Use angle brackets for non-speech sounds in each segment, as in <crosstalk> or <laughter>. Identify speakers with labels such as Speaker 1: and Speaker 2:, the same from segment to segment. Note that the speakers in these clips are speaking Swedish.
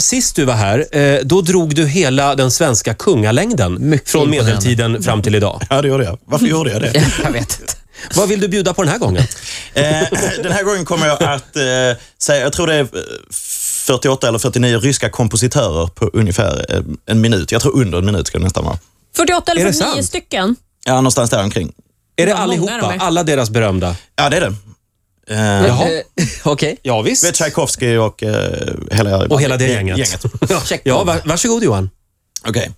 Speaker 1: sist du var här, eh, då drog du hela den svenska kungalängden
Speaker 2: Mycket
Speaker 1: från
Speaker 2: imponerande.
Speaker 1: medeltiden fram till idag.
Speaker 3: Ja, det gjorde jag. Varför gjorde jag det?
Speaker 2: Jag vet inte.
Speaker 1: Vad vill du bjuda på den här gången?
Speaker 3: Eh, Den här gången kommer jag att eh, säga, jag tror det är eh, 48 eller 49 ryska kompositörer på ungefär eh, en minut. Jag tror under en minut ska det nästan vara.
Speaker 4: 48
Speaker 1: Är
Speaker 4: eller
Speaker 1: det
Speaker 4: 49
Speaker 1: sant?
Speaker 4: stycken.
Speaker 3: Ja, någonstans där omkring.
Speaker 1: Är det
Speaker 4: Vad många de
Speaker 1: allihopa?
Speaker 4: är.
Speaker 1: Alla deras berömda?
Speaker 3: Ja, det är det. Eh,
Speaker 1: Jaha.
Speaker 2: Eh, Okej.
Speaker 1: Ja,
Speaker 3: Du vet
Speaker 1: visst.
Speaker 3: Tchaikovsky och eh, hela,
Speaker 1: Och hela det
Speaker 3: gäng-
Speaker 1: gänget.
Speaker 3: gänget.
Speaker 1: Ja, ja, va- varsågod Johan.
Speaker 3: Okej.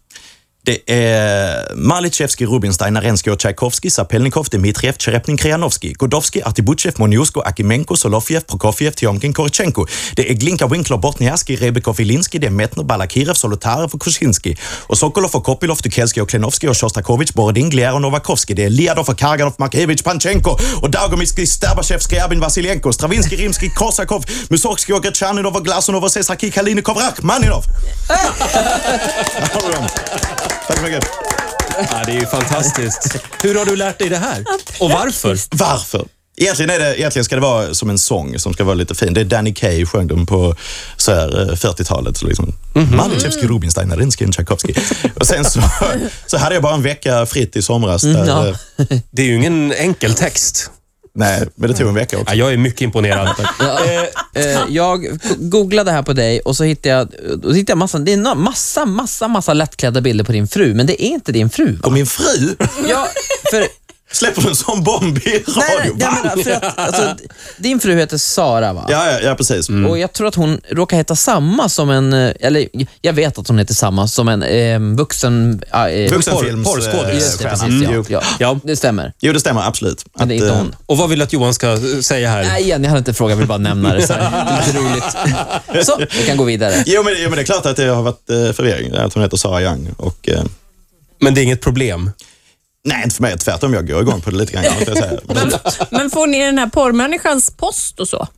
Speaker 3: Det är Malichevskij, Rubinstein, Arensky och Tchaikovsky, Sapelnikov, Dmitriev, Tjerepnin, Krianovskij, Godovskij, Artibuchev, Monjusko, Akimenko, Solofiev, Prokofiev, Tjomkin, Korchenko. Det är Glinka, Winkler, Bortniaski, Rebekov, Ilinski, det är Metner, Balakirev, Solotarev och Kuczynski. Och Sokolov och Kopilov, Tukelski och Klenovskij och Sjostakovitj, Borodin, Glier och Novakovskij. Det är Liadov och Karganov, Markevitj, Panchenko och Dagomiskij, Sterbachev, Skriabin, Vasilenko, Stravinskij, Rimskij, Korsakov, Mussorgskij och Gretjaninov och Glasunov och Sesarkij, Kalinikov, Rachmaninov. Där har vi dem. Tack så mycket.
Speaker 1: Ja, det är ju fantastiskt. Hur har du lärt dig det här? Och varför?
Speaker 3: Varför? Egentligen, är det, egentligen ska det vara som en sång som ska vara lite fin. Det är Danny Kaye sjöng den på så här, eh, 40-talet. så Liksom.
Speaker 2: Mhm.
Speaker 3: Malichevskij, Rubinstein, Arensky och Tchaikovsky. Och sen
Speaker 2: <laughs>
Speaker 3: så, så hade jag bara en vecka fritt i somras. Där,
Speaker 2: ja.
Speaker 3: eh,
Speaker 1: Det är ju ingen enkel text.
Speaker 3: Nej, men det tog en vecka också.
Speaker 1: Ja, jag är mycket imponerad.
Speaker 2: Ja, eh, jag googlade här på dig och så hittade jag, då hittade jag massa, det är na- massa, massa, massa lättklädda bilder på din fru, men det är inte din fru.
Speaker 3: Och min fru,
Speaker 2: Ja, <laughs> för,
Speaker 3: släpper du en sån bomb i radio?
Speaker 2: nej, nej,
Speaker 3: Va?
Speaker 2: jag menar, för att, alltså, d- din fru heter Sara, va?
Speaker 3: ja, ja, ja, precis.
Speaker 2: Och Jag tror att hon råkar heta samma som en, eh, eller jag vet att hon heter samma som en eh, vuxen... ah, eh,
Speaker 3: Vuxenfilms...
Speaker 1: Porr- porrskådis.
Speaker 3: eh,
Speaker 2: Just det,
Speaker 3: stjärna.
Speaker 2: precis, ja, Mm,
Speaker 3: jo.
Speaker 2: ja,
Speaker 1: Ja.
Speaker 2: det stämmer.
Speaker 3: jo, det stämmer absolut.
Speaker 2: Men det är
Speaker 3: Att,
Speaker 2: inte
Speaker 3: eh,
Speaker 2: hon.
Speaker 1: Och vad vill du att Johan ska eh, säga här?
Speaker 2: Nej, igen, jag hade inte frågat, jag vill bara nämna det. Så här. Det är lite roligt. Så, vi kan gå vidare.
Speaker 3: Jo men, jo, men det är klart att det har varit eh, förvirring. Att hon heter Sara Young. Och, eh,
Speaker 1: Men det är inget problem.
Speaker 3: Nej, inte för mig. Tvärtom, jag går igång på det lite grann. måste jag säga. Men,
Speaker 4: <laughs> Men får ni den här porrmänniskans post och så?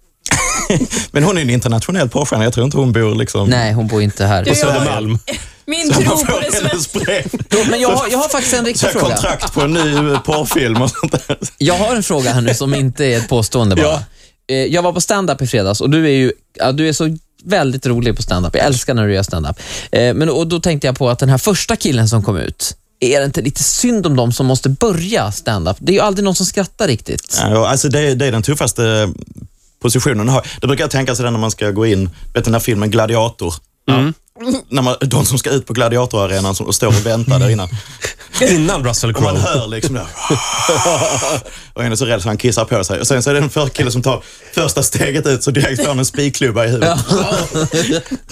Speaker 3: men hon är en internationell porrstjärna. Jag tror inte hon bor liksom... <laughs>
Speaker 2: Nej, hon bor inte här.
Speaker 4: Du-
Speaker 1: Södermalm.
Speaker 4: Min
Speaker 3: Så
Speaker 4: tro
Speaker 3: man
Speaker 4: på
Speaker 3: får
Speaker 4: det svenska.
Speaker 3: hennes brev.
Speaker 2: Men jag har, jag har faktiskt en
Speaker 3: Så
Speaker 2: riktig
Speaker 3: här,
Speaker 2: fråga.
Speaker 3: kontrakt på en ny eh, porrfilm och sånt där.
Speaker 2: Jag har en fråga här nu som inte är ett påstående bara.
Speaker 1: Ja.
Speaker 2: Eh, Jag var på stand-up i fredags och du är ju ja, du är så väldigt rolig på stand-up. Jag älskar när du gör stand-up. Eh, Men, och då tänkte jag på att den här första killen som kom ut, är det inte lite synd om dem som måste börja stand-up? Det är ju aldrig någon som skrattar riktigt.
Speaker 3: Ja, och alltså det, är- det är den tuffaste positionen att ha. Det brukar jag tänka sådär när man ska gå in, vet den här filmen Gladiator?
Speaker 4: Mm.
Speaker 3: När man, de som ska ut på gladiatorarenan som står och väntar där innan.
Speaker 1: Innan Russell
Speaker 3: Och man
Speaker 1: Crowe.
Speaker 3: hör liksom det. här. <laughs> Och en är så rädd så han kissar på sig. Och sen <laughs> så är det en för kille som tar första steget ut så direkt får han en spikklubba i huvudet.